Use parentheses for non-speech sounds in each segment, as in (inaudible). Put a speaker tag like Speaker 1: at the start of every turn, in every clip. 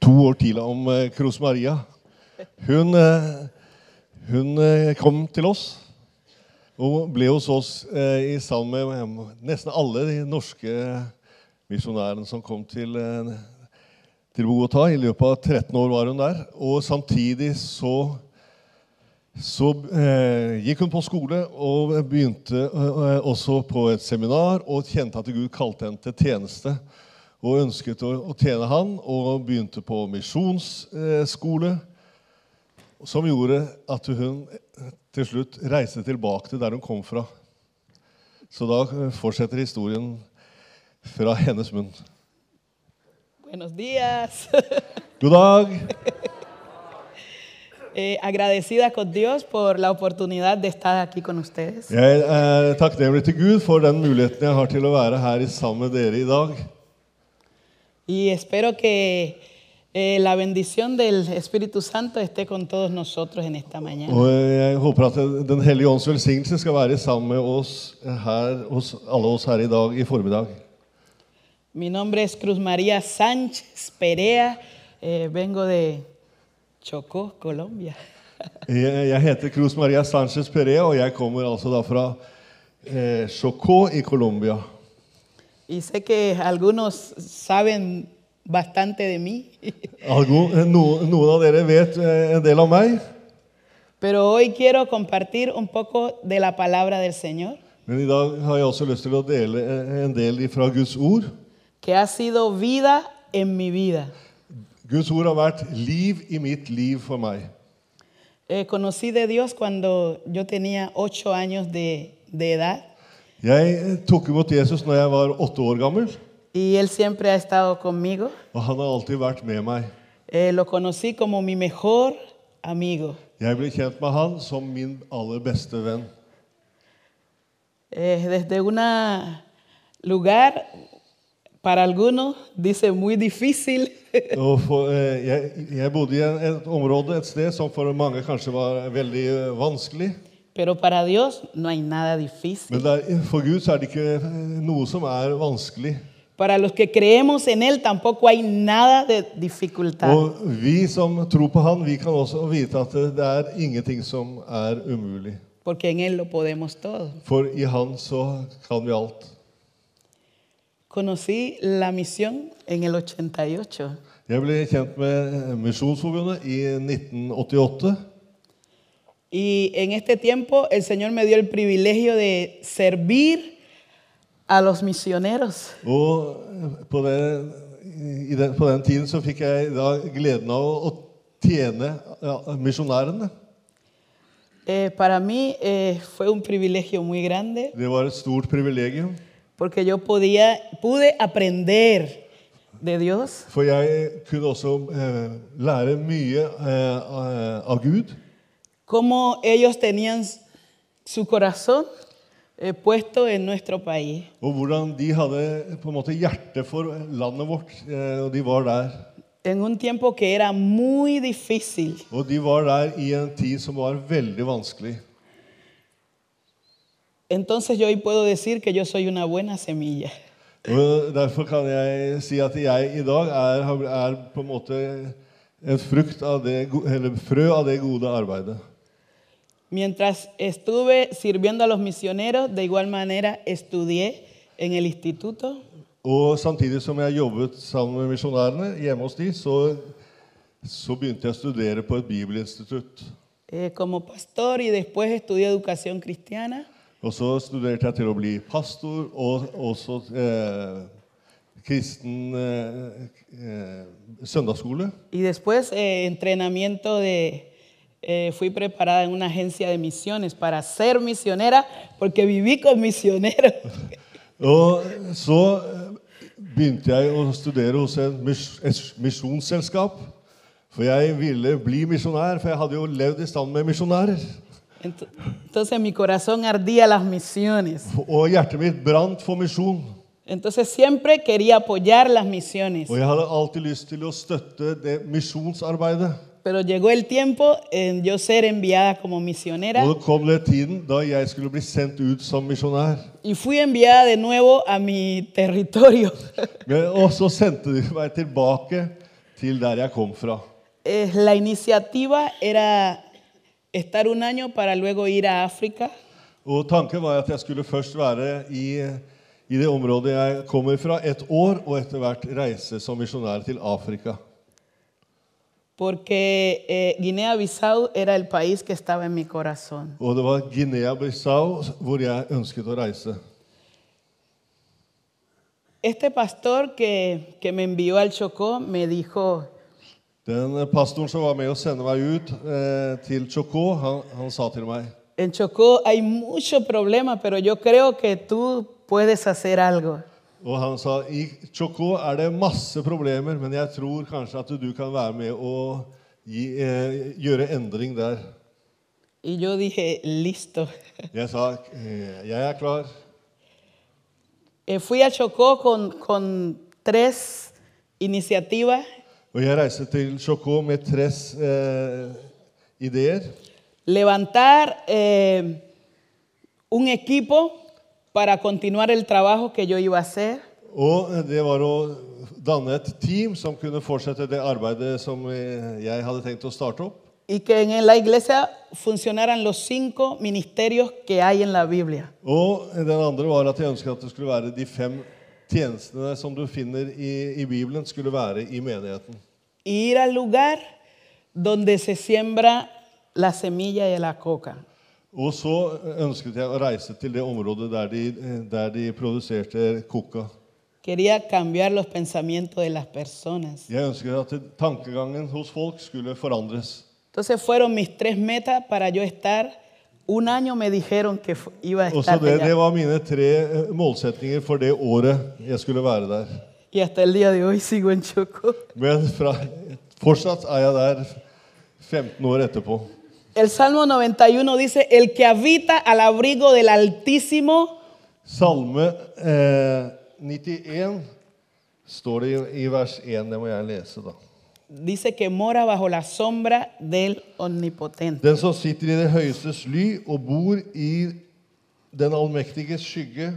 Speaker 1: to år tidligere om eh, Cruz Maria. Hun, eh, hun eh, kom til oss og ble hos oss eh, i sammen med eh, nesten alle de norske misjonærene som kom til, eh, til Bogotá. I løpet av 13 år var hun der. Og samtidig så så eh, gikk hun på skole og begynte eh, også på et seminar og kjente at Gud kalte henne til tjeneste. Og ønsket å, å tjene han, og begynte på misjonsskole. Eh, skole, som gjorde at hun eh, til slutt reiste tilbake til der hun kom fra. Så da eh, fortsetter historien fra hennes munn.
Speaker 2: Buenos días. (laughs)
Speaker 1: God dag!
Speaker 2: Eh, agradecida con Dios por la oportunidad de estar aquí con ustedes.
Speaker 1: Jeg er takknemlig til Gud for den muligheten jeg har til å være her sammen med dere i dag.
Speaker 2: Y espero que eh, la bendición del Espíritu Santo esté con todos nosotros en esta mañana.
Speaker 1: Og jeg håper at Den hellige ånds velsignelse skal være sammen med oss her, hos alle oss her i dag i formiddag.
Speaker 2: Mi nombre es Cruz María Sánchez Perea. Eh, vengo de Chocó, Colombia.
Speaker 1: Jeg, jeg heter Cruz Maria Sanchez Perea, og jeg kommer altså da fra eh, Chocó i Colombia.
Speaker 2: Y sé que algunos saben bastante de mí, (laughs)
Speaker 1: Algo, eh, no, noen av dere vet eh, en del av meg,
Speaker 2: pero hoy quiero compartir un poco de la palabra del Señor.
Speaker 1: men i dag har jeg også lyst til å dele eh, en del fra Guds ord.
Speaker 2: que ha sido vida en mi vida.
Speaker 1: Guds ord har vært liv i mitt liv for meg.
Speaker 2: Eh, conocí de Dios cuando yo tenía ocho años de, de edad
Speaker 1: Jeg eh, tok imot Jesus når jeg var åtte år gammel,
Speaker 2: y Él siempre ha estado conmigo.
Speaker 1: og han har alltid vært med meg.
Speaker 2: Eh, lo conocí como mi mejor amigo.
Speaker 1: Jeg ble kjent med han som min aller beste venn.
Speaker 2: Eh, desde un lugar, para algunos, dice muy difícil, (laughs)
Speaker 1: Og for, eh, jeg, jeg bodde i en- et område et sted som for mange kanskje var veldig eh, vanskelig.
Speaker 2: pero para Dios no hay nada difícil.
Speaker 1: Men der, for Gud så er det ikke eh, noe som er vanskelig.
Speaker 2: Para los que creemos en Él tampoco hay nada de dificultad.
Speaker 1: Og vi som tror på han, vi kan også vite at det det er ingenting som er umulig.
Speaker 2: porque en Él lo podemos todo.
Speaker 1: For i han så kan vi alt.
Speaker 2: Conocí la misión en el 88
Speaker 1: Jeg ble kjent med Misjonsforbundet i 1988.
Speaker 2: y en este tiempo el Señor me dio el privilegio de servir a los misioneros.
Speaker 1: Og eh, på, det, i den, på den tiden så fikk jeg da gleden av å, å tjene ja, misjonærene.
Speaker 2: Eh, para mí eh, fue un privilegio muy grande
Speaker 1: Det var et stort privilegium,
Speaker 2: porque yo podía, pude aprender de Dios,
Speaker 1: for jeg kunne også eh, lære mye eh, av Gud.
Speaker 2: cómo ellos tenían su corazón eh, puesto en nuestro país.
Speaker 1: Og hvordan de hadde på en måte hjerte for landet vårt, eh, og de var der.
Speaker 2: En un tiempo que era muy difícil,
Speaker 1: Og de var der i en tid som var veldig vanskelig.
Speaker 2: entonces yo hoy puedo decir que yo soy una buena semilla.
Speaker 1: Og derfor kan jeg si at jeg i dag er, er på en måte et frukt av det, go- eller frø av det gode arbeidet.
Speaker 2: Mientras estuve sirviendo a los misioneros, de igual manera estudié en el instituto
Speaker 1: Og samtidig som jeg jobbet sammen med misjonærene hjemme hos de, så, så begynte jeg å studere på et bibelinstitutt.
Speaker 2: eh, como pastor y después estudié educación cristiana.
Speaker 1: Og så studerte jeg til å bli pastor og også eh, kristen eh, eh, søndagsskole.
Speaker 2: Y después eh, entrenamiento de... eh, fui preparada en una agencia de misiones para ser misionera porque viví con misioneros.
Speaker 1: Og så eh, begynte jeg å studere hos et mis- et misjonsselskap. For jeg ville bli misjonær, for jeg hadde jo levd i stand med misjonærer.
Speaker 2: Ent- Entonces mi corazón ardía las misiones.
Speaker 1: Og hjertet mitt brant for misjon.
Speaker 2: Entonces siempre quería apoyar las misiones.
Speaker 1: Og jeg hadde alltid lyst til å støtte det misjonsarbeidet.
Speaker 2: Pero llegó el tiempo en yo ser enviada como misionera.
Speaker 1: Og det kom det tiden da jeg skulle bli sendt ut som misjonær.
Speaker 2: Y fui enviada de nuevo a mi territorio.
Speaker 1: Men- Og så sendte de meg tilbake til der jeg kom fra.
Speaker 2: Eh, la iniciativa era estar un año para luego ir a África.
Speaker 1: Og tanken var at jeg skulle først være i, i det området jeg kommer fra, et år, og etter hvert reise som misjonær til Afrika.
Speaker 2: porque eh, Guinea-Bissau era el país que estaba en mi corazón.
Speaker 1: Og det var Guinea-Bissau hvor jeg ønsket å reise.
Speaker 2: Este pastor que, que me envió al Chocó me dijo,
Speaker 1: Den pastoren som var med å sende meg ut eh, til Chocó, han, han sa til meg
Speaker 2: en Chocó hay mucho problema, pero yo creo que tú puedes hacer algo.
Speaker 1: Og han sa i Chocó er det masse problemer, men jeg tror kanskje at du kan være med å gi, eh, gjøre endring der.
Speaker 2: Y yo dije, listo. (laughs)
Speaker 1: Jeg sa eh, jeg er klar.
Speaker 2: Eh, fui a Chocó con, con tres iniciativas.
Speaker 1: Og jeg reiste til Chocó med tres eh, ideer.
Speaker 2: Levantar eh, un equipo para continuar el trabajo que yo iba a hacer.
Speaker 1: Og det var å danne et team som kunne fortsette det arbeidet som eh, jeg hadde tenkt å starte opp.
Speaker 2: y que en la iglesia funcionaran los cinco ministerios que hay en la Biblia.
Speaker 1: Og den andre var at jeg ønsket at det skulle være de fem tjenestene som du finner i, i Bibelen, skulle være i menigheten.
Speaker 2: Y ir al lugar donde se siembra la semilla de la coca.
Speaker 1: Og så ønsket jeg å reise til det området der de, der de produserte coca.
Speaker 2: Quería cambiar los pensamientos de las personas.
Speaker 1: Jeg ønsket at tankegangen hos folk skulle forandres.
Speaker 2: Entonces fueron mis tres metas para yo estar. Un año me dijeron que fu- iba a
Speaker 1: Og så
Speaker 2: estar
Speaker 1: det,
Speaker 2: allá.
Speaker 1: det var mine tre eh, målsetninger for det året jeg skulle være der.
Speaker 2: y hasta el día de hoy sigo en Chocó.
Speaker 1: Men fra, fortsatt er jeg der 15 år etterpå.
Speaker 2: El Salmo 91 dice, el que habita al abrigo del Altísimo
Speaker 1: Salme eh, 91 står det i, i vers 1. Det må jeg lese, da.
Speaker 2: dice que mora bajo la sombra del Omnipotente.
Speaker 1: Den som sitter i det høyestes ly og bor i den allmektiges skygge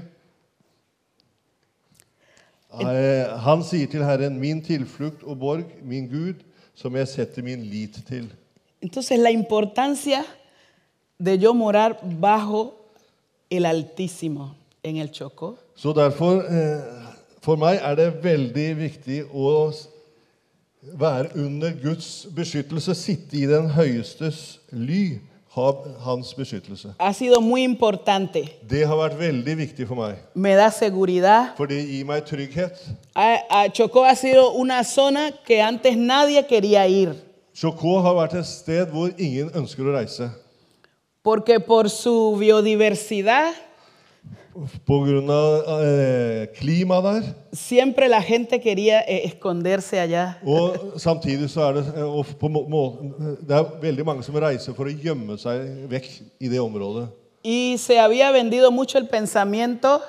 Speaker 1: eh, Han sier til Herren, min tilflukt og borg, min Gud, som jeg setter min lit til.
Speaker 2: Entonces la importancia de yo morar bajo el Altísimo en el Chocó.
Speaker 1: Så derfor, eh, for meg er det veldig viktig å s- være under Guds beskyttelse, sitte i den høyestes ly, ha hans beskyttelse.
Speaker 2: Ha sido muy importante.
Speaker 1: Det har vært veldig viktig for meg,
Speaker 2: Me da seguridad.
Speaker 1: for det gir meg trygghet.
Speaker 2: A- a Chocó ha sido una zona que antes nadie quería ir,
Speaker 1: Chocó har vært et sted hvor ingen ønsker å reise.
Speaker 2: porque por su biodiversidad
Speaker 1: Pga. Eh, klimaet der.
Speaker 2: siempre la gente quería eh, esconderse allá.
Speaker 1: Og samtidig så er det, eh, og på må, må, det er veldig mange som reiser for å gjemme seg vekk i det området.
Speaker 2: Y se había vendido mucho el pensamiento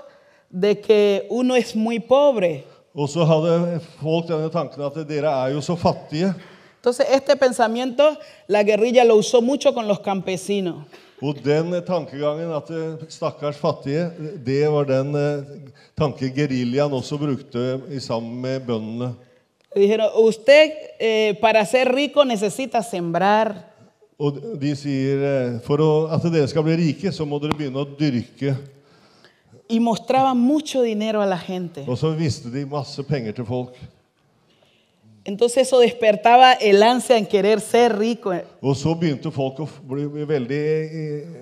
Speaker 2: de que uno es muy pobre.
Speaker 1: Og så hadde folk denne tanken at dere er jo så fattige.
Speaker 2: Entonces, este pensamiento la guerrilla lo usó mucho con los campesinos.
Speaker 1: Og den tankegangen at eh, stakkars fattige, det var den eh, tanke geriljaen også brukte i sammen med bøndene.
Speaker 2: Le dijeron, usted eh, para ser rico necesita sembrar,
Speaker 1: Og de sier eh, for å, at dere skal bli rike, så må dere begynne å dyrke.
Speaker 2: y mostraba mucho dinero a la gente.
Speaker 1: Og så visste de masse penger til folk.
Speaker 2: Entonces eso despertaba el ansia en querer ser rico.
Speaker 1: Og så begynte folk å f- bli bli veldig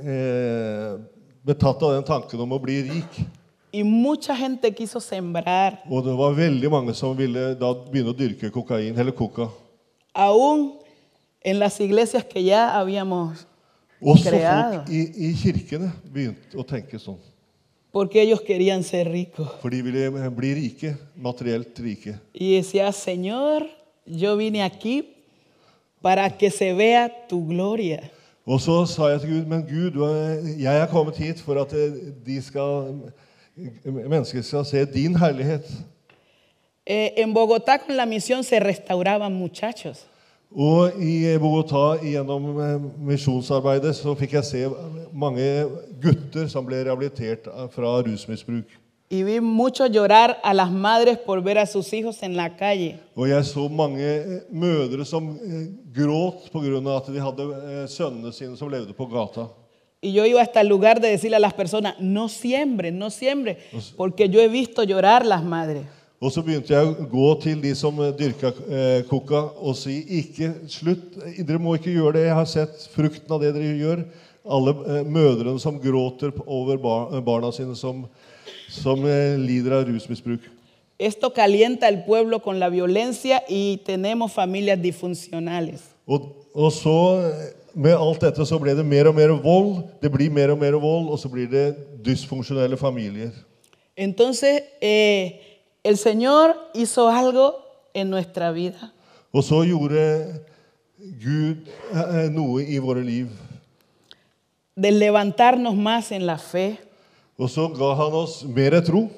Speaker 1: eh, betatt av den tanken om å bli rik.
Speaker 2: Y mucha gente quiso sembrar.
Speaker 1: Og det var veldig mange som ville da begynne å dyrke kokain, eller coca.
Speaker 2: Aún en las iglesias que ya habíamos,
Speaker 1: Også
Speaker 2: Creado.
Speaker 1: folk i, i kirkene begynte å tenke sånn.
Speaker 2: porque ellos querían ser ricos.
Speaker 1: For de ville bli rike, materielt rike.
Speaker 2: Y decía, Señor, yo vine aquí para que se vea tu gloria.
Speaker 1: Og så sa jeg til Gud, men Gud, du er- jeg er kommet hit for at eh, de skal, mennesker skal se din herlighet.
Speaker 2: Eh, en Bogotá con la misión se restauraban muchachos.
Speaker 1: Og i Bogotá, gjennom eh, misjonsarbeidet, så fikk jeg se mange gutter som ble rehabilitert av- fra rusmisbruk.
Speaker 2: y vi mucho llorar a las madres por ver a sus hijos en la calle.
Speaker 1: Og jeg så mange eh, mødre som eh, gråt pga. at de hadde eh, sønnene sine som levde på gata.
Speaker 2: Y yo iba hasta el lugar de decirle a las personas, no siembren, no siembren, porque yo he visto llorar las madres.
Speaker 1: Og så begynte jeg å gå til de som eh, dyrka eh, coca, og si ikke slutt. eh, Dere må ikke gjøre det. Jeg har sett frukten av det dere gjør. Alle eh, mødrene som gråter p- over bar barna sine som, som eh, lider av rusmisbruk.
Speaker 2: Esto calienta al pueblo con la violencia y tenemos familias disfuncionales.
Speaker 1: Og, og så, eh, med alt dette, så ble det mer og mer vold. Det blir mer og mer vold, og så blir det dysfunksjonelle familier.
Speaker 2: Entonces, eh, el Señor hizo algo en nuestra vida.
Speaker 1: Og så gjorde Gud eh, noe i våre liv.
Speaker 2: de levantarnos más en la fe.
Speaker 1: Og så ga han oss mer tro.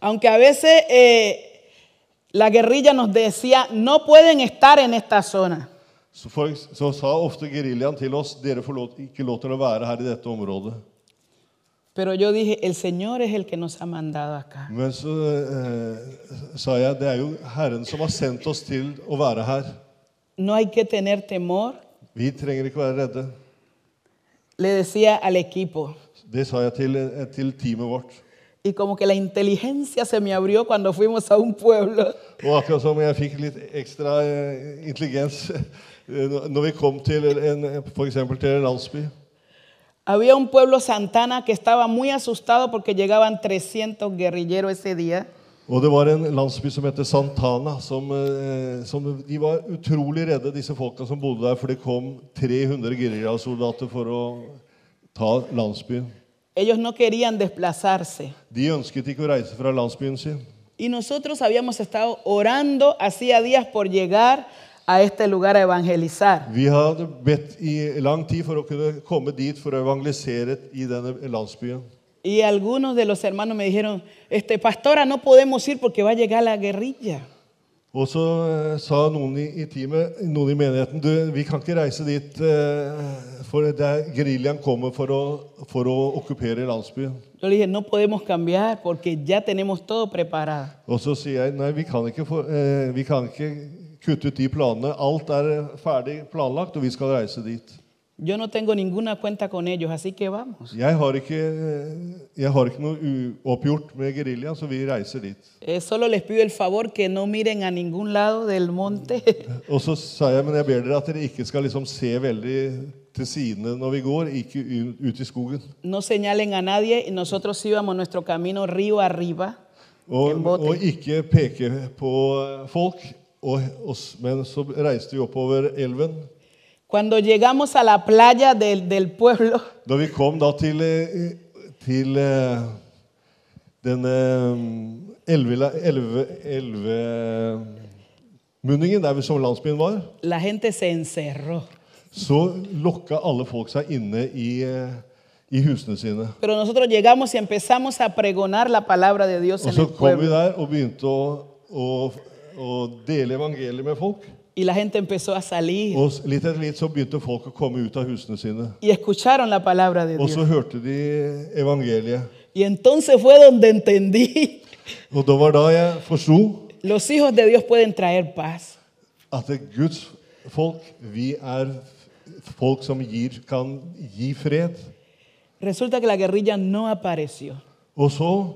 Speaker 2: Aunque a veces eh, la guerrilla nos decía, no pueden estar en esta zona.
Speaker 1: Så, for, så sa ofte geriljaen til oss dere får lov, ikke lov til å være her i dette området.
Speaker 2: Pero yo dije, el Señor es el que nos ha mandado acá.
Speaker 1: Men så eh, sa jeg det er jo Herren som har sendt oss til å være her.
Speaker 2: No hay que tener temor,
Speaker 1: Vi trenger ikke være redde.
Speaker 2: le decía al equipo.
Speaker 1: Det sa jeg til, eh, til teamet vårt.
Speaker 2: Y como que la inteligencia se me abrió cuando fuimos a un pueblo.
Speaker 1: Og akkurat som jeg fikk litt ekstra eh, intelligens eh, når vi kom til en, for eksempel til en landsby.
Speaker 2: Había un pueblo Santana que estaba muy asustado porque llegaban 300 guerrilleros ese día.
Speaker 1: Og det var en landsby som heter Santana, som, eh, som de var utrolig redde, disse folka som bodde der, for det kom 300 geriljasoldater for å ta landsbyen.
Speaker 2: Ellos no querían desplazarse.
Speaker 1: De ønsket ikke å reise fra landsbyen sin.
Speaker 2: Y nosotros habíamos estado orando hacía días por llegar a este lugar a evangelizar.
Speaker 1: Vi hadde bedt i lang tid for å kunne komme dit for å evangelisere i denne landsbyen.
Speaker 2: Y algunos de los hermanos me dijeron, este, pastora, no podemos ir porque va a llegar la guerrilla.
Speaker 1: Og så eh, sa noen i, i teamet, noen i menigheten, du, vi kan ikke reise dit, eh, for det er- geriljaen kommer for å, for å okkupere landsbyen.
Speaker 2: Yo le dije, no podemos cambiar porque ya tenemos todo preparado.
Speaker 1: Og så sier jeg nei, vi kan ikke, få, eh, vi kan ikke kutte ut de planene. Alt er eh, ferdig planlagt, og vi skal reise dit.
Speaker 2: Yo no tengo ninguna cuenta con ellos, así que vamos.
Speaker 1: Jeg har ikke, eh, jeg har ikke noe uoppgjort med geriljaen, så vi reiser dit.
Speaker 2: Eh, solo les pido el favor que no miren a ningún lado del monte. (laughs)
Speaker 1: Og så sa jeg, men jeg ber dere at dere ikke skal liksom se veldig til sidene når vi går, ikke u- ut i skogen.
Speaker 2: no señalen a nadie y nosotros íbamos nuestro camino río arriba. En
Speaker 1: Og,
Speaker 2: båt.
Speaker 1: og ikke peke på eh, folk. Og, og, s- men så reiste vi oppover elven.
Speaker 2: Cuando llegamos a la playa del, del pueblo,
Speaker 1: Da vi kom da til, eh, til eh, denne eh, elvela- elve- elvemunningen, der vi som landsbyen var,
Speaker 2: la gente se encerró.
Speaker 1: så lokka alle folk seg inne i, eh, i husene sine.
Speaker 2: Pero nosotros llegamos y empezamos a pregonar la palabra de Dios
Speaker 1: Og
Speaker 2: en
Speaker 1: så
Speaker 2: el
Speaker 1: kom vi
Speaker 2: pueblo.
Speaker 1: der og begynte å, å, å dele evangeliet med folk.
Speaker 2: Y la gente empezó a salir
Speaker 1: Og s- litt etter litt så begynte folk å komme ut av husene sine.
Speaker 2: y escucharon la palabra de
Speaker 1: Og
Speaker 2: Dios.
Speaker 1: så hørte de evangeliet.
Speaker 2: Y entonces fue donde entendí, (laughs)
Speaker 1: Og det var da jeg forsto
Speaker 2: los hijos de Dios pueden traer paz.
Speaker 1: At det er Guds folk, vi er folk som gir, kan gi fred.
Speaker 2: Resulta que la guerrilla no apareció
Speaker 1: Og så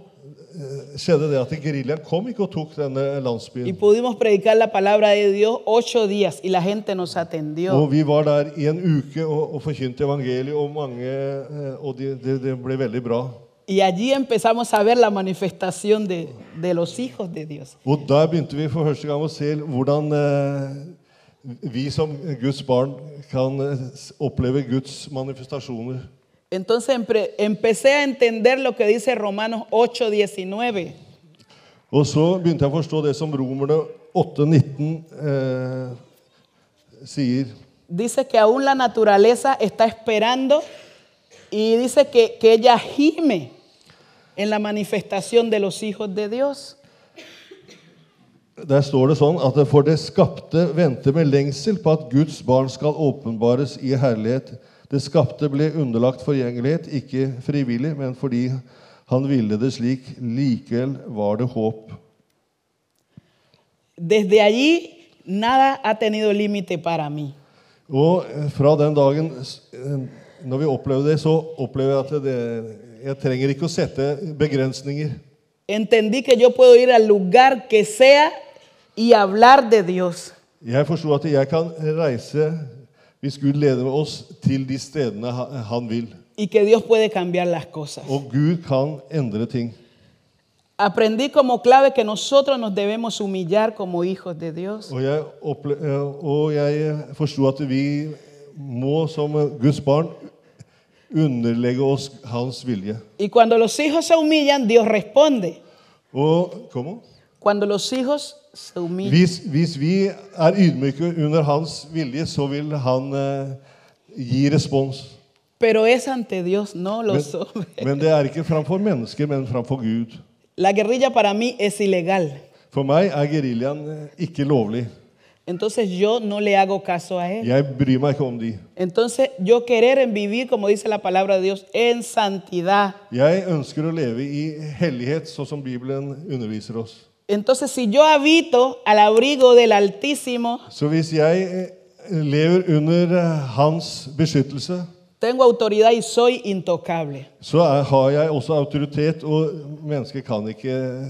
Speaker 1: eh, skjedde det at geriljaen kom ikke og tok denne
Speaker 2: y
Speaker 1: landsbyen.
Speaker 2: pudimos predicar la palabra de Dios ocho días y la gente nos atendió.
Speaker 1: Og vi var der i en uke og, og forkynte evangeliet, og mange eh, Og det de, det ble veldig bra.
Speaker 2: Y allí empezamos a ver la manifestación de, de los hijos de Dios.
Speaker 1: Og der begynte vi for første gang å se hvordan eh, vi som Guds barn kan eh, s- oppleve Guds manifestasjoner.
Speaker 2: Entonces empre- empecé a entender lo que dice Romanos 8, 19.
Speaker 1: Og så begynte jeg å forstå det som romerne 8.19 eh, sier.
Speaker 2: Dice que aún la naturaleza está esperando y dice que, que ella gime en la manifestación de los hijos de Dios.
Speaker 1: Der står det sånn at det for det skapte venter med lengsel på at Guds barn skal åpenbares i herlighet. Det skapte ble underlagt forgjengelighet, ikke frivillig, men fordi Han ville det slik. Likevel var det håp.
Speaker 2: Desde allí nada ha tenido límite para mí.
Speaker 1: Og eh, fra den dagen s- eh, når vi opplevde det, så opplever jeg at det, jeg trenger ikke å sette begrensninger.
Speaker 2: Entendí que yo puedo ir al lugar que sea y hablar de Dios.
Speaker 1: Jeg forsto at jeg kan reise, hvis Gud leder oss, til de stedene ha- han vil.
Speaker 2: y que Dios puede cambiar las cosas.
Speaker 1: Og Gud kan endre ting.
Speaker 2: Aprendí como clave que nosotros nos debemos humillar como hijos de Dios.
Speaker 1: Og jeg, opple eh, og jeg forsto at vi må som Guds barn underlegge oss hans vilje.
Speaker 2: Y cuando los hijos se humillan, Dios responde.
Speaker 1: Og ¿cómo?
Speaker 2: Cuando los hijos se humillan,
Speaker 1: Hvis, hvis vi er ydmyke under hans vilje, så vil han eh, gi respons.
Speaker 2: pero es ante Dios, no los
Speaker 1: Men,
Speaker 2: hombres.
Speaker 1: men det er ikke framfor mennesker, men framfor Gud.
Speaker 2: La guerrilla para mí es ilegal.
Speaker 1: For meg er geriljaen eh, ikke lovlig.
Speaker 2: Entonces yo no le hago caso a él.
Speaker 1: Jeg bryr meg ikke om de.
Speaker 2: Entonces yo querer en vivir, como dice la palabra de Dios, en santidad.
Speaker 1: Jeg ønsker å leve i hellighet, sånn som Bibelen underviser oss.
Speaker 2: Entonces si yo habito al abrigo del Altísimo,
Speaker 1: Så hvis jeg eh, lever under eh, hans beskyttelse,
Speaker 2: tengo autoridad y soy intocable.
Speaker 1: så er, har jeg også autoritet, og mennesker kan ikke eh,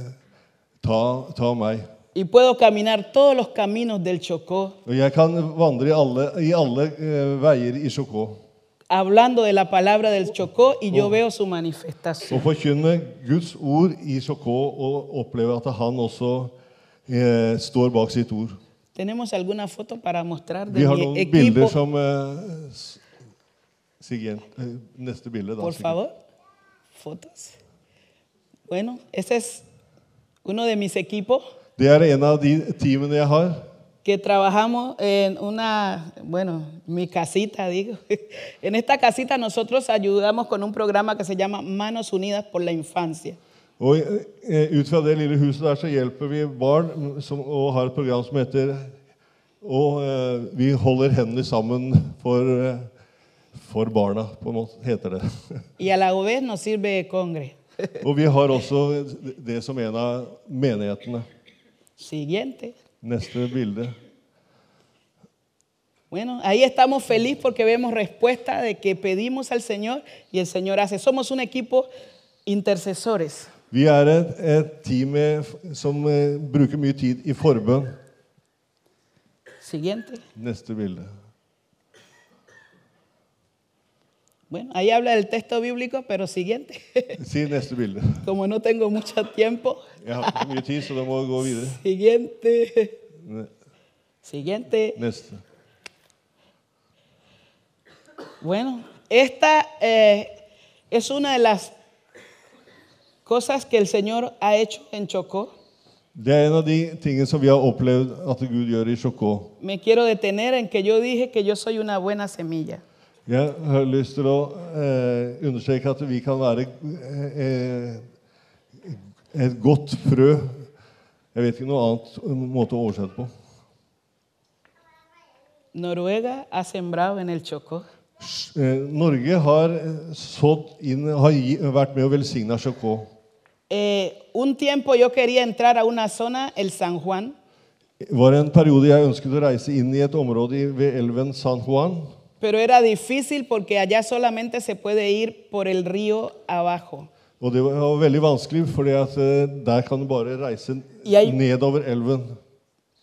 Speaker 1: ta, ta meg.
Speaker 2: y puedo caminar todos los caminos del Chocó
Speaker 1: Og jeg kan vandre i alle, i alle eh, veier i Sjokå
Speaker 2: hablando de la palabra del Chocó y yo veo su manifestación.
Speaker 1: og forkynne Guds ord i Sjokå og oppleve at han også eh, står bak sitt ord.
Speaker 2: Tenemos alguna foto para mostrar
Speaker 1: Vi
Speaker 2: de
Speaker 1: har
Speaker 2: mi
Speaker 1: noen bilder
Speaker 2: equipo,
Speaker 1: som eh, s- Siggen, eh, Neste bilde, da.
Speaker 2: por
Speaker 1: Siggen.
Speaker 2: favor. Fotos. Bueno, ese es uno de mis equipos
Speaker 1: Det er en av de teamene jeg har.
Speaker 2: que trabajamos en una, bueno, mi casita, digo. (laughs) En esta casita nosotros ayudamos con un programa que se llama Manos Unidas por la Infancia.
Speaker 1: Og eh, ut fra det lille huset der så hjelper vi barn mm, som, og har et program som heter Og eh, vi holder hendene sammen for, eh, for barna, på en måte, heter det. (laughs)
Speaker 2: Y a la vez nos sirve de congre.
Speaker 1: og vi har også det som en av menighetene.
Speaker 2: Siguiente.
Speaker 1: Neste bilde.
Speaker 2: Bueno, ahí estamos feliz porque vemos respuesta de que pedimos al Señor y el Señor hace. Somos un equipo intercesores.
Speaker 1: Vi er et, et team med, f- som eh, bruker mye tid i forbønn.
Speaker 2: Siguiente.
Speaker 1: Neste bilde.
Speaker 2: Bueno, ahí habla del texto bíblico, pero siguiente. (laughs)
Speaker 1: Si neste bilde.
Speaker 2: Como no tengo mucho tiempo.
Speaker 1: Jeg har ikke så mye tid, så da må jeg gå videre.
Speaker 2: Siguiente.
Speaker 1: Ne-
Speaker 2: Siguiente.
Speaker 1: Neste.
Speaker 2: Bueno, esta eh, es una de las cosas que el Señor ha hecho en Chocó.
Speaker 1: Det er en av de tingene som vi har opplevd at Gud gjør i Sjokå.
Speaker 2: Me quiero detener en que yo dije que yo soy una buena semilla.
Speaker 1: Jeg har lyst til å eh, understreke at vi kan være eh, et godt frø. Jeg vet ikke noe annet måte å oversette på.
Speaker 2: Noruega ha sembrado en el Chocó.
Speaker 1: Sj- eh, Norge har eh, sådd inn, har gi, vært med å velsigne Sjokå.
Speaker 2: Eh, un tiempo yo quería entrar a una zona, el San Juan,
Speaker 1: Det var en periode jeg ønsket å reise inn i et område i- ved elven San Juan.
Speaker 2: pero era difícil porque allá solamente se puede ir por el río abajo.
Speaker 1: Og det var veldig vanskelig, for der kan du bare reise
Speaker 2: Jeg-
Speaker 1: nedover elven.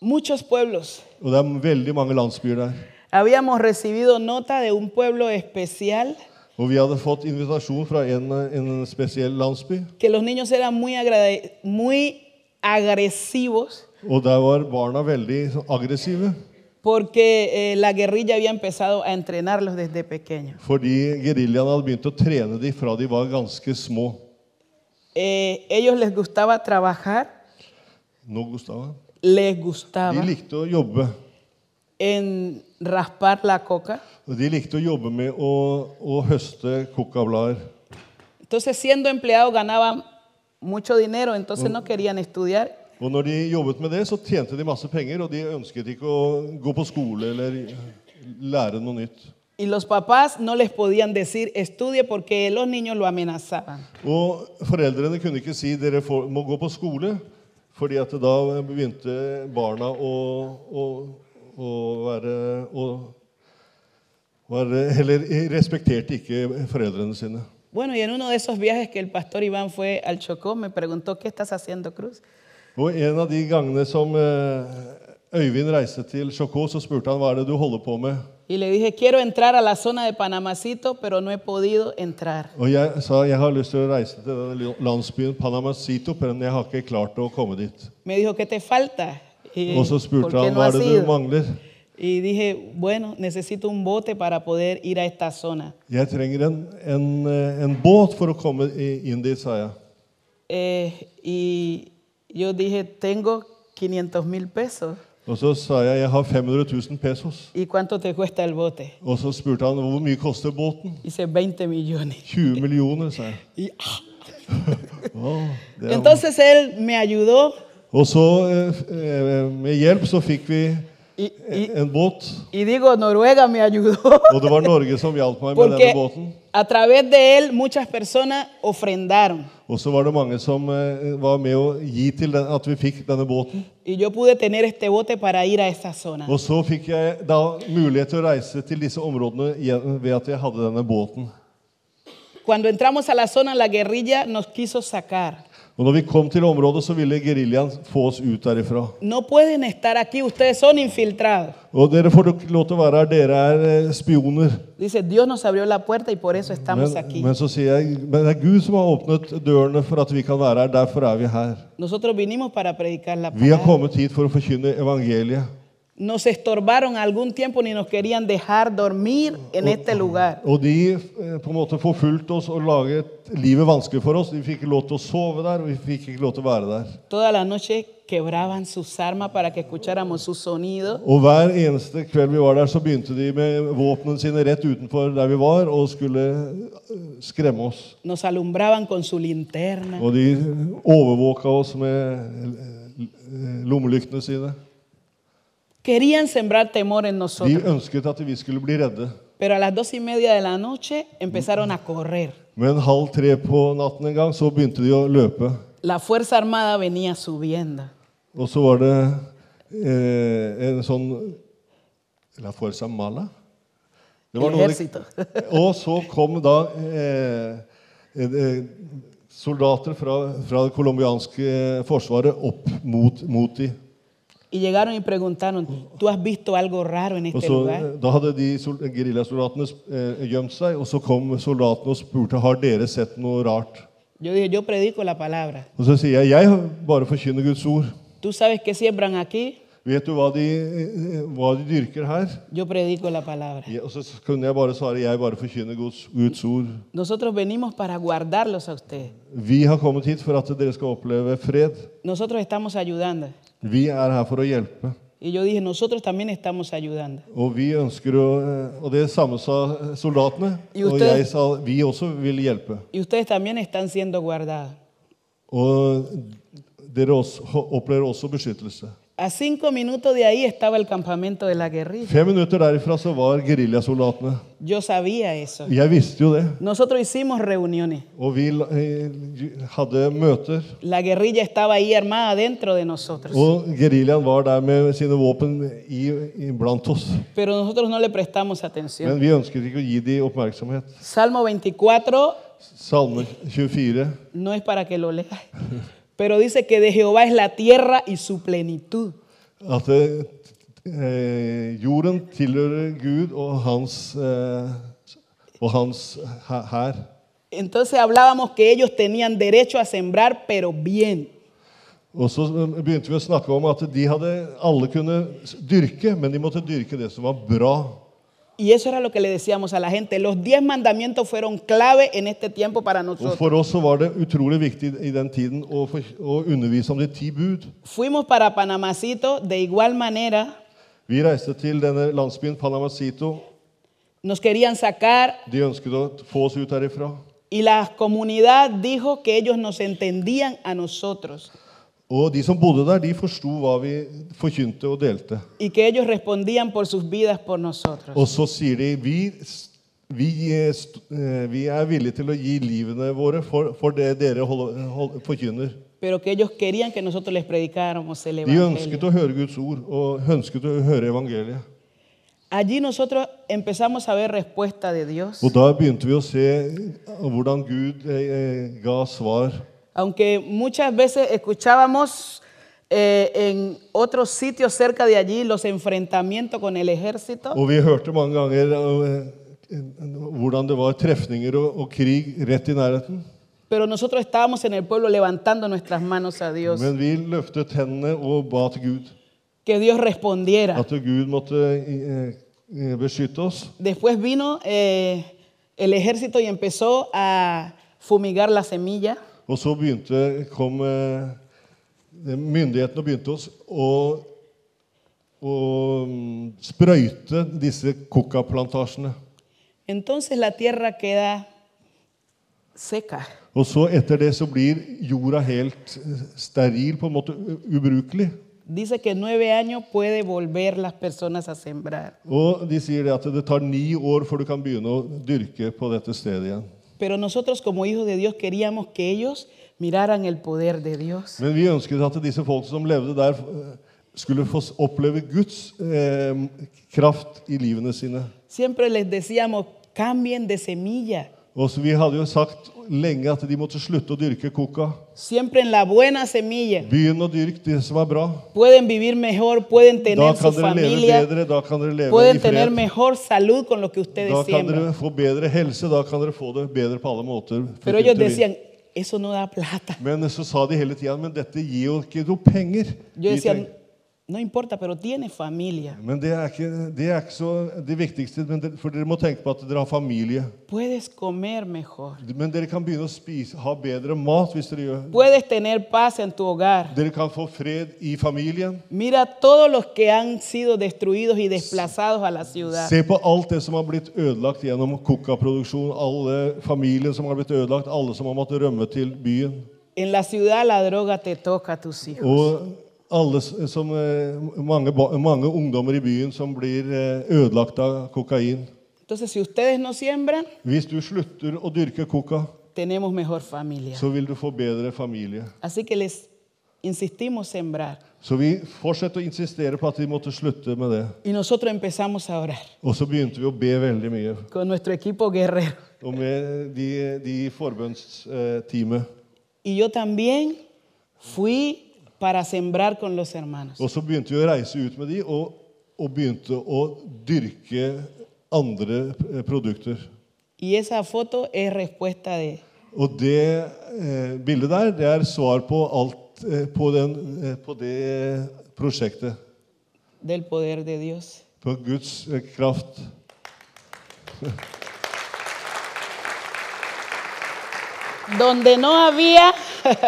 Speaker 2: Muchos pueblos.
Speaker 1: Og det er veldig mange landsbyer der.
Speaker 2: Habíamos recibido nota de un pueblo especial
Speaker 1: Og vi hadde fått invitasjon fra en, eh, en spesiell landsby.
Speaker 2: que los niños eran muy, agrade- muy agresivos
Speaker 1: Og der var barna veldig sånn aggressive.
Speaker 2: porque eh, la guerrilla había empezado a entrenarlos desde pequeños.
Speaker 1: Fordi geriljaen hadde begynt å trene dem fra de var ganske små.
Speaker 2: Eh, ellos les gustaba trabajar,
Speaker 1: Nå, Gustava.
Speaker 2: les
Speaker 1: De
Speaker 2: gustaba
Speaker 1: likte å jobbe.
Speaker 2: en raspar la coca.
Speaker 1: Og de likte å jobbe med å, å høste kokablader.
Speaker 2: Entonces, siendo empleados ganaban mucho dinero, entonces no querían estudiar.
Speaker 1: Og når de jobbet med det, så tjente de masse penger, og de ønsket ikke å gå på skole eller lære noe nytt.
Speaker 2: Y los papás no les podían decir estudie porque los niños lo amenazaban.
Speaker 1: Og foreldrene kunne ikke si dere får, må gå på skole, fordi at da begynte barna å, å, å være å, være, Eller respekterte ikke foreldrene sine.
Speaker 2: Bueno, y en uno de esos viajes que el pastor Iván fue al Chocó, me preguntó, ¿qué estás haciendo, Cruz?
Speaker 1: Og en av de gangene som eh, Øyvind reiste til Sjokå, så spurte han hva er det du holder på med.
Speaker 2: Y le dije, quiero entrar a la zona de Panamacito, pero no he podido entrar.
Speaker 1: Og jeg sa jeg har lyst til å reise til denne landsbyen Panamacito, men jeg har ikke klart å komme dit.
Speaker 2: Me dijo, ¿qué te falta? Y,
Speaker 1: Og så
Speaker 2: "¿Por
Speaker 1: spurte
Speaker 2: qué
Speaker 1: han
Speaker 2: no
Speaker 1: hva
Speaker 2: has
Speaker 1: er det du
Speaker 2: ido?"
Speaker 1: mangler.
Speaker 2: Y dije, bueno, necesito un bote para poder ir a esta zona.
Speaker 1: Jeg trenger en, en, eh, en båt for å komme i- inn dit, sa jeg.
Speaker 2: Eh, y yo dije, tengo 500 mil pesos.
Speaker 1: Og så sa jeg jeg har 500 000 pesos.
Speaker 2: ¿Y cuánto te cuesta el bote?
Speaker 1: Og så spurte han hvor mye koster båten.
Speaker 2: Dice, 20 millones.
Speaker 1: 20 millioner, sa jeg.
Speaker 2: Y, ah.
Speaker 1: Wow, det er-
Speaker 2: Entonces él me ayudó
Speaker 1: og så, eh, f- eh, med hjelp, så fikk vi
Speaker 2: y, y-
Speaker 1: en båt.
Speaker 2: y digo, Noruega me ayudó.
Speaker 1: Og det var Norge som hjalp meg med
Speaker 2: Porque
Speaker 1: denne båten.
Speaker 2: a través de él muchas personas ofrendaron.
Speaker 1: Og så var det mange som eh, var med å gi til den, at vi fikk denne båten.
Speaker 2: Y yo pude tener este bote para ir a esa zona.
Speaker 1: Og så fikk jeg da mulighet til å reise til disse områdene igjen ved at jeg hadde denne båten.
Speaker 2: Cuando entramos a la zona, la guerrilla nos quiso sacar.
Speaker 1: Og når vi kom til området, så ville geriljaen få oss ut derifra.
Speaker 2: No pueden estar aquí, ustedes son infiltrados.
Speaker 1: Og dere får nok lov til å være her, dere er eh, spioner.
Speaker 2: Dice, Dios nos abrió la puerta y por eso
Speaker 1: Men,
Speaker 2: estamos aquí.
Speaker 1: men så sier jeg, men det er Gud som har åpnet dørene for at vi kan være her, derfor er vi her.
Speaker 2: Nosotros vinimos para predicar la
Speaker 1: Vi har
Speaker 2: palabra.
Speaker 1: kommet hit for å forkynne evangeliet.
Speaker 2: Nos estorbaron algún tiempo ni nos querían dejar dormir en este lugar.
Speaker 1: Og de eh, på en måte forfulgte oss og laget livet vanskelig for oss. De fikk ikke lov til å sove der, og vi fikk ikke lov til å være der.
Speaker 2: Toda la noche quebraban sus armas para que escucháramos su sonido.
Speaker 1: Og hver eneste kveld vi var der, så begynte de med våpnene sine rett utenfor der vi var, og skulle eh, skremme oss.
Speaker 2: Nos alumbraban con su linterna.
Speaker 1: Og de overvåka oss med eh, lommelyktene sine.
Speaker 2: Querían sembrar temor en
Speaker 1: De
Speaker 2: nosotros.
Speaker 1: ønsket at vi skulle bli redde.
Speaker 2: Pero a las dos y media de la noche empezaron a correr.
Speaker 1: Men halv tre på natten en gang så begynte de å løpe.
Speaker 2: La Fuerza Armada venía subiendo.
Speaker 1: Og så var det eh, en sånn La Fuerza Mala? Det var noe de-
Speaker 2: Ejército.
Speaker 1: (laughs) Og så kom da eh, eh, soldater fra, fra det colombianske forsvaret opp mot, mot de.
Speaker 2: Y llegaron y preguntaron, ¿tú has visto algo raro en
Speaker 1: Og
Speaker 2: este
Speaker 1: så, eh,
Speaker 2: lugar?
Speaker 1: da hadde de sol- geriljasoldatene eh, gjemt seg, og så kom soldatene og spurte har dere sett noe rart.
Speaker 2: Yo dije, yo predico la palabra.
Speaker 1: Og så sier jeg jeg bare forkynner Guds ord.
Speaker 2: ¿Tú sabes qué siembran aquí?
Speaker 1: Vet du hva de, eh, hva de dyrker her?
Speaker 2: Yo predico la palabra.
Speaker 1: Ja, Og så kunne jeg bare svare jeg bare forkynner Guds, Guds ord.
Speaker 2: Nosotros venimos para guardarlos a ustedes.
Speaker 1: Vi har kommet hit for at dere skal oppleve fred.
Speaker 2: Nosotros estamos ayudando.
Speaker 1: Vi er her for å hjelpe.
Speaker 2: Y yo dije, nosotros también estamos ayudando.
Speaker 1: Og vi ønsker å eh, Og det samme sa soldatene.
Speaker 2: I
Speaker 1: Og
Speaker 2: ute-
Speaker 1: jeg sa vi også vil hjelpe.
Speaker 2: Y ustedes también están siendo guardados.
Speaker 1: Og dere også, opplever også beskyttelse.
Speaker 2: A cinco minutos de ahí estaba el campamento de la guerrilla.
Speaker 1: Fem minutter derifra så var geriljasoldatene.
Speaker 2: Yo sabía eso.
Speaker 1: Jeg visste jo det.
Speaker 2: Nosotros hicimos reuniones.
Speaker 1: Og vi la- eh, hadde møter.
Speaker 2: La guerrilla estaba ahí armada dentro de nosotros.
Speaker 1: Og geriljaen var der med sine våpen i, i blant oss.
Speaker 2: Pero nosotros no le prestamos atención.
Speaker 1: Men vi ønsket ikke å gi dem oppmerksomhet.
Speaker 2: Salmo 24
Speaker 1: Salme 24.
Speaker 2: no es para que lo leas. Pero dice que de Jehová es la tierra y su plenitud.
Speaker 1: At eh, eh, jorden tilhører Gud og hans, eh, og hans hæ- hær.
Speaker 2: Entonces hablábamos que ellos tenían derecho a sembrar, pero bien.
Speaker 1: Og så eh, begynte vi å snakke om at de hadde, alle kunne s- dyrke, men de måtte dyrke det som var bra.
Speaker 2: Y eso era lo que le decíamos a la gente. Los diez mandamientos fueron clave en este tiempo para
Speaker 1: Og
Speaker 2: nosotros.
Speaker 1: For oss så var det utrolig viktig i den tiden å, for, å undervise om de ti bud.
Speaker 2: Fuimos para Panamacito de igual manera.
Speaker 1: Vi reiste til denne landsbyen Panamacito.
Speaker 2: Nos querían sacar
Speaker 1: De ønsket å få oss ut derifra.
Speaker 2: y la comunidad dijo que ellos nos entendían a nosotros.
Speaker 1: Og de som bodde der, de forsto hva vi forkynte og delte.
Speaker 2: y que ellos respondían por sus vidas por nosotros.
Speaker 1: Og så sier de vi, vi, eh, st- eh, vi er villige til å gi livene våre for, for det dere hold, hold, forkynner.
Speaker 2: Pero que ellos querían que nosotros les predicáramos el
Speaker 1: De
Speaker 2: Evangelio.
Speaker 1: ønsket å høre Guds ord og ønsket å høre evangeliet.
Speaker 2: Allí nosotros empezamos a ver respuesta de Dios.
Speaker 1: Og da begynte vi å se hvordan Gud eh, eh, ga svar.
Speaker 2: Aunque muchas veces escuchábamos eh, en otros sitios cerca de allí los enfrentamientos con el ejército,
Speaker 1: Og vi hørte mange ganger eh, hvordan det var trefninger og, og krig rett i nærheten.
Speaker 2: pero nosotros estábamos en el pueblo levantando nuestras manos a Dios,
Speaker 1: Men vi løftet hendene og ba til Gud.
Speaker 2: que Dios respondiera.
Speaker 1: At Gud måtte eh, eh, beskytte oss.
Speaker 2: Después vino eh, el ejército y empezó a fumigar la semilla.
Speaker 1: Og så begynte, kom eh, myndighetene og begynte oss å, å mm, sprøyte disse coca-plantasjene.
Speaker 2: Entonces la tierra queda seca.
Speaker 1: Og så etter det så blir jorda helt eh, steril, på en måte u- ubrukelig.
Speaker 2: Dice que en nueve años puede volver las personas a sembrar,
Speaker 1: Og de sier det at det tar ni år før du kan begynne å dyrke på dette stedet igjen.
Speaker 2: pero nosotros como hijos de Dios queríamos que ellos miraran el poder de Dios.
Speaker 1: Men vi ønsket at disse folk som levde der, eh, skulle få s- oppleve Guds eh, kraft i livene sine.
Speaker 2: Siempre les decíamos, cambien de semilla.
Speaker 1: Og så Vi hadde jo sagt lenge at de måtte slutte å dyrke coca.
Speaker 2: Siempre en la buena semilla.
Speaker 1: Begynn å dyrke det som er bra.
Speaker 2: Pueden vivir mejor, pueden
Speaker 1: Da
Speaker 2: tener su
Speaker 1: kan dere leve
Speaker 2: familia,
Speaker 1: bedre, da kan dere leve i
Speaker 2: pueden tener
Speaker 1: fred.
Speaker 2: mejor salud con lo que
Speaker 1: Da
Speaker 2: ustedes
Speaker 1: kan dere
Speaker 2: siembran.
Speaker 1: få bedre helse, da kan dere få det bedre på alle måter.
Speaker 2: Pero ellos
Speaker 1: forkynte vi.
Speaker 2: decían, eso no da plata.
Speaker 1: Men så sa de hele tida men dette gir jo ikke noe penger. Vi
Speaker 2: Yo decía,
Speaker 1: trenger-
Speaker 2: no importa, pero tiene familia.
Speaker 1: men det er, ikke, det er ikke så det viktigste, men dere, for dere må tenke på at dere har familie.
Speaker 2: Puedes comer mejor.
Speaker 1: Men dere kan begynne å spise, ha bedre mat hvis dere gjør
Speaker 2: Puedes tener paz en tu hogar.
Speaker 1: Dere kan få fred i familien.
Speaker 2: Mira todos los que han sido destruidos y desplazados a la ciudad.
Speaker 1: Se på alt det som har blitt ødelagt gjennom coca-produksjon, alle familien som har blitt ødelagt, alle som har måttet rømme til byen.
Speaker 2: En la ciudad la droga te toca a tus hijos.
Speaker 1: Og alle s- som, eh, mange, ba- mange ungdommer i byen som blir eh, ødelagt av kokain.
Speaker 2: Entonces, si ustedes no siembran,
Speaker 1: Hvis du slutter å dyrke coca,
Speaker 2: tenemos mejor familia.
Speaker 1: så vil du få bedre familie.
Speaker 2: Así que les insistimos sembrar.
Speaker 1: Så vi fortsetter å insistere på at de måtte slutte med det.
Speaker 2: Y nosotros empezamos a orar
Speaker 1: Og så begynte vi å be veldig mye.
Speaker 2: con nuestro equipo guerrero.
Speaker 1: Og med de, de forbønnsteamet.
Speaker 2: Y yo también fui para sembrar con los hermanos.
Speaker 1: Og så begynte vi å reise ut med de og, og begynte å dyrke andre eh, produkter.
Speaker 2: Y esa foto es respuesta de,
Speaker 1: Og det eh, bildet der, det er svar på alt eh, på, den, eh, på det prosjektet.
Speaker 2: del poder de Dios.
Speaker 1: På Guds eh, kraft.
Speaker 2: donde no había,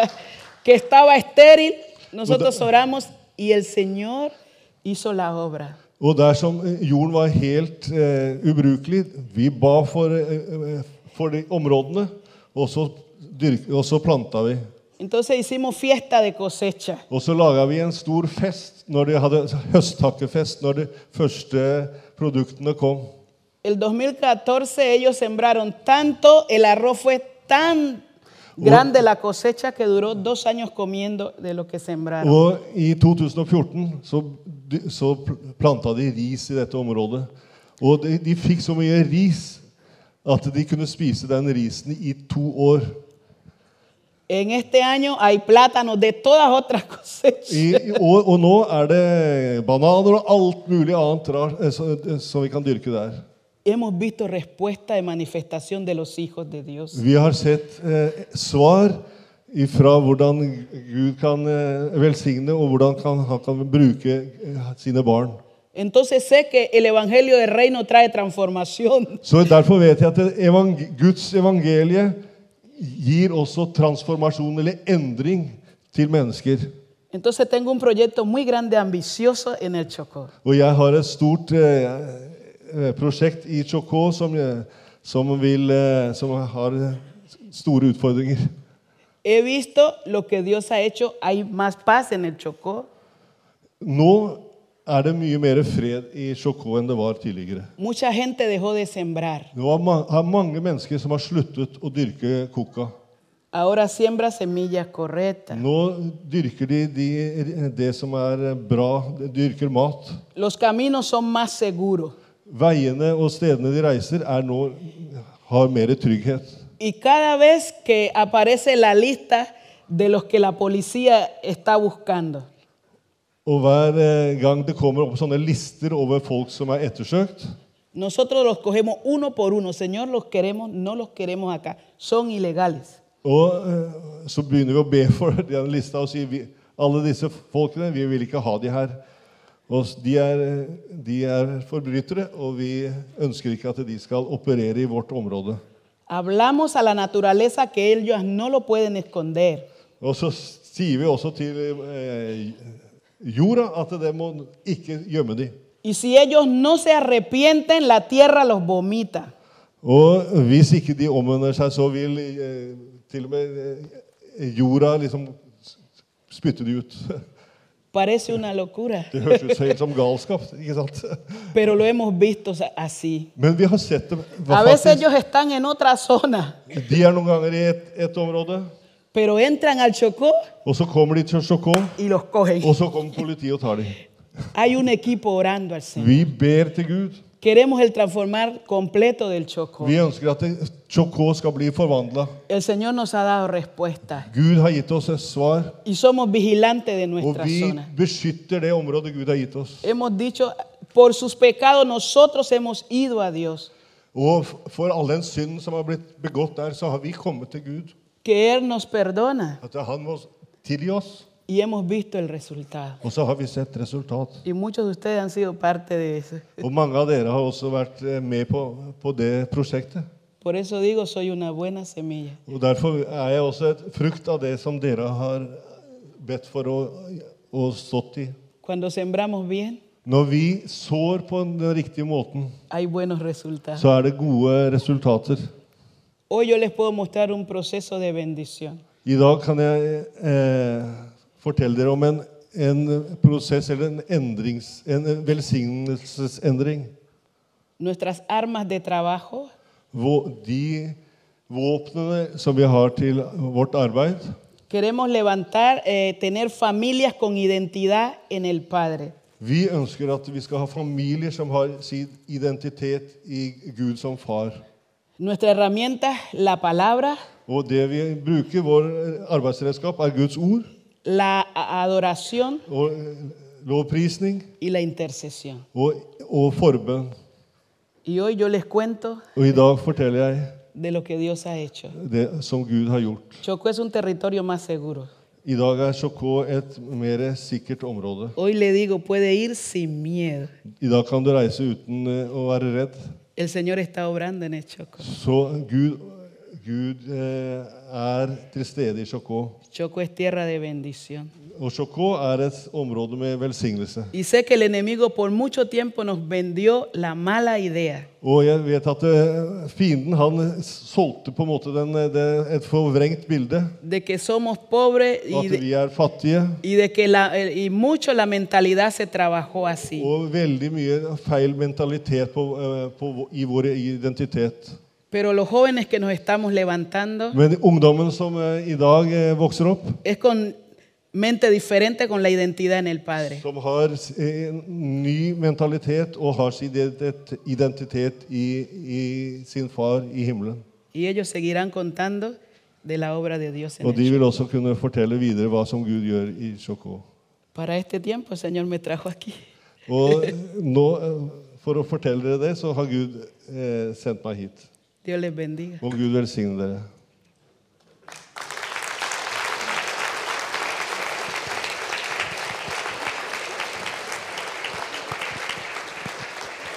Speaker 2: (laughs) que estaba estéril, nosotros oramos y el Señor hizo la obra.
Speaker 1: Og dersom eh, jorden var helt eh, ubrukelig Vi ba for, eh, eh, for de områdene, og så, dyrk, og så planta vi.
Speaker 2: Entonces hicimos fiesta de cosecha.
Speaker 1: Og så laga vi en stor fest, når de hadde høsttakkefest, når de første produktene kom.
Speaker 2: El 2014 ellos sembraron tanto, el arroz fue tan grande la cosecha que duró dos años comiendo de lo que sembraron.
Speaker 1: Og i 2014 så, så planta de ris i dette området. Og de, de fikk så mye ris at de kunne spise den risen i to år.
Speaker 2: En este año hay plátanos de todas otras (laughs) cosechas.
Speaker 1: I, i år, og nå er det bananer og alt mulig annet rar, eh, så- eh, som vi kan dyrke der.
Speaker 2: Hemos visto respuesta de manifestación de los hijos de Dios.
Speaker 1: Vi har sett eh, svar ifra hvordan Gud kan eh, velsigne, og hvordan kan, han kan bruke eh, sine barn.
Speaker 2: Entonces sé que el Evangelio del Reino trae transformación.
Speaker 1: Så Derfor vet jeg at det evang Guds evangelie gir også transformasjon eller endring til mennesker.
Speaker 2: Entonces tengo un proyecto muy grande, ambicioso en el Chocó.
Speaker 1: Og jeg har et stort eh, eh, prosjekt i Chocó som, eh, som, vil, eh, som har eh, store utfordringer.
Speaker 2: He visto lo que Dios ha hecho. Hay más paz en el Chocó.
Speaker 1: Nå er det mye mer fred i Sjokå enn det var tidligere.
Speaker 2: Mucha gente dejó de sembrar.
Speaker 1: Det var ma- har mange mennesker som har sluttet å dyrke koka.
Speaker 2: Ahora siembra semillas correctas.
Speaker 1: Nå dyrker de, de det som er bra, de dyrker mat.
Speaker 2: Los caminos son más seguros.
Speaker 1: Veiene og stedene de reiser, er nå, har mer trygghet.
Speaker 2: Y cada vez que aparece la lista de los que la policía está buscando,
Speaker 1: Og hver eh, gang det kommer opp sånne lister over folk som er ettersøkt,
Speaker 2: nosotros los cogemos uno por uno. Señor, los queremos, no los queremos acá. Son ilegales.
Speaker 1: og eh, så begynner vi å be for (laughs) den lista og sier vi, alle disse folkene, vi vil ikke ha de her. Og s- de er, eh, de er forbrytere, og vi ønsker ikke at de skal operere i vårt område.
Speaker 2: Hablamos a la naturaleza que ellos no lo pueden esconder.
Speaker 1: Og så sier vi også til eh, jorda at det må ikke gjemme de.
Speaker 2: Y si ellos no se arrepienten, la tierra los vomita.
Speaker 1: Og hvis ikke de omvender seg, så vil eh, til og med eh, jorda liksom s- spytte de ut. (laughs)
Speaker 2: Parece una locura,
Speaker 1: Det høres ut så helt som galskap, ikke sant?
Speaker 2: pero lo hemos visto así.
Speaker 1: Men vi har sett det.
Speaker 2: A veces
Speaker 1: Faktisk,
Speaker 2: ellos están en otra zona,
Speaker 1: de er noen ganger i et, et område,
Speaker 2: pero entran al Chocó
Speaker 1: og så kommer de til Sjokå,
Speaker 2: y los cogen.
Speaker 1: og så kommer politiet og tar dem.
Speaker 2: Hay un equipo orando al Señor.
Speaker 1: Vi ber til Gud.
Speaker 2: Queremos el transformar completo del Chocó.
Speaker 1: Vi ønsker at det- Sjokå skal bli forvandla.
Speaker 2: El Señor nos ha dado respuestas
Speaker 1: Gud har gitt oss et svar.
Speaker 2: y somos vigilantes de
Speaker 1: Og
Speaker 2: nuestra
Speaker 1: vi
Speaker 2: zona.
Speaker 1: beskytter det området Gud har gitt oss.
Speaker 2: Hemos dicho, por sus pecados nosotros hemos ido a Dios,
Speaker 1: Og f- for all den synden som har blitt begått der, så har vi kommet til Gud.
Speaker 2: que Él nos perdona
Speaker 1: At han må tilgi oss.
Speaker 2: y hemos visto el resultado.
Speaker 1: Og så har vi sett resultat.
Speaker 2: Y muchos de ustedes han sido parte de eso.
Speaker 1: Og mange av dere har også vært eh, med på, på det prosjektet.
Speaker 2: Por eso digo, soy una buena semilla.
Speaker 1: Og derfor er jeg også et frukt av det som dere har bedt for og, og stått i.
Speaker 2: Cuando sembramos bien,
Speaker 1: Når vi sår på den riktige måten,
Speaker 2: hay buenos resultados.
Speaker 1: så er det gode resultater.
Speaker 2: Hoy yo les puedo mostrar un proceso de bendición.
Speaker 1: I dag kan jeg eh, fortelle dere om en, en prosess eller en, endrings, en velsignelsesendring.
Speaker 2: Nuestras armas de trabajo
Speaker 1: Vå- De våpnene som vi har til vårt arbeid
Speaker 2: Queremos levantar, eh, tener familias con identidad en el Padre.
Speaker 1: Vi ønsker at vi skal ha familier som har sin identitet i Gud som far.
Speaker 2: Nuestra herramienta, la palabra,
Speaker 1: Og det vi bruker, vår arbeidsredskap, er Guds ord
Speaker 2: la a- adoración
Speaker 1: og eh, lovprisning
Speaker 2: y la intercesión.
Speaker 1: og, og forbønn.
Speaker 2: Y hoy yo les cuento
Speaker 1: Og i dag forteller jeg
Speaker 2: de lo que Dios ha hecho.
Speaker 1: det som Gud har gjort.
Speaker 2: Chocó es un territorio más seguro.
Speaker 1: I dag er Sjokå et mer sikkert område.
Speaker 2: Hoy le digo, puede ir sin miedo.
Speaker 1: I dag kan du reise uten eh, å være redd.
Speaker 2: El Señor está obrando en el Chocó.
Speaker 1: Så Gud, Gud eh, er til stede i Sjokå.
Speaker 2: Chocó es tierra de bendición.
Speaker 1: Og Sjokå er et område med velsignelse.
Speaker 2: Y sé que el enemigo por mucho tiempo nos vendió la mala idea.
Speaker 1: Og jeg vet at eh, fienden han solgte på en måte den, eh, det, et forvrengt bilde.
Speaker 2: de que somos pobres
Speaker 1: Og
Speaker 2: y
Speaker 1: at
Speaker 2: de,
Speaker 1: vi er fattige.
Speaker 2: y de que la, el- y mucho la mentalidad se trabajó así.
Speaker 1: Og veldig mye feil mentalitet på, eh, på, vå- i vår identitet.
Speaker 2: Pero los jóvenes que nos estamos levantando
Speaker 1: Men ungdommen som eh, i dag eh, vokser opp
Speaker 2: es con mente diferente con la identidad en el Padre.
Speaker 1: Som har en ny mentalitet og har sin identitet- identitet i, i sin far i himmelen.
Speaker 2: Y ellos seguirán contando de la obra de Dios en
Speaker 1: Og de
Speaker 2: ellos.
Speaker 1: vil også kunne fortelle videre hva som Gud gjør i Sjokå.
Speaker 2: Para este tiempo el Señor me trajo aquí.
Speaker 1: Og nå, eh, for å fortelle dere det, så har Gud eh, sendt meg hit.
Speaker 2: Dios les bendiga.
Speaker 1: Og Gud velsigne dere.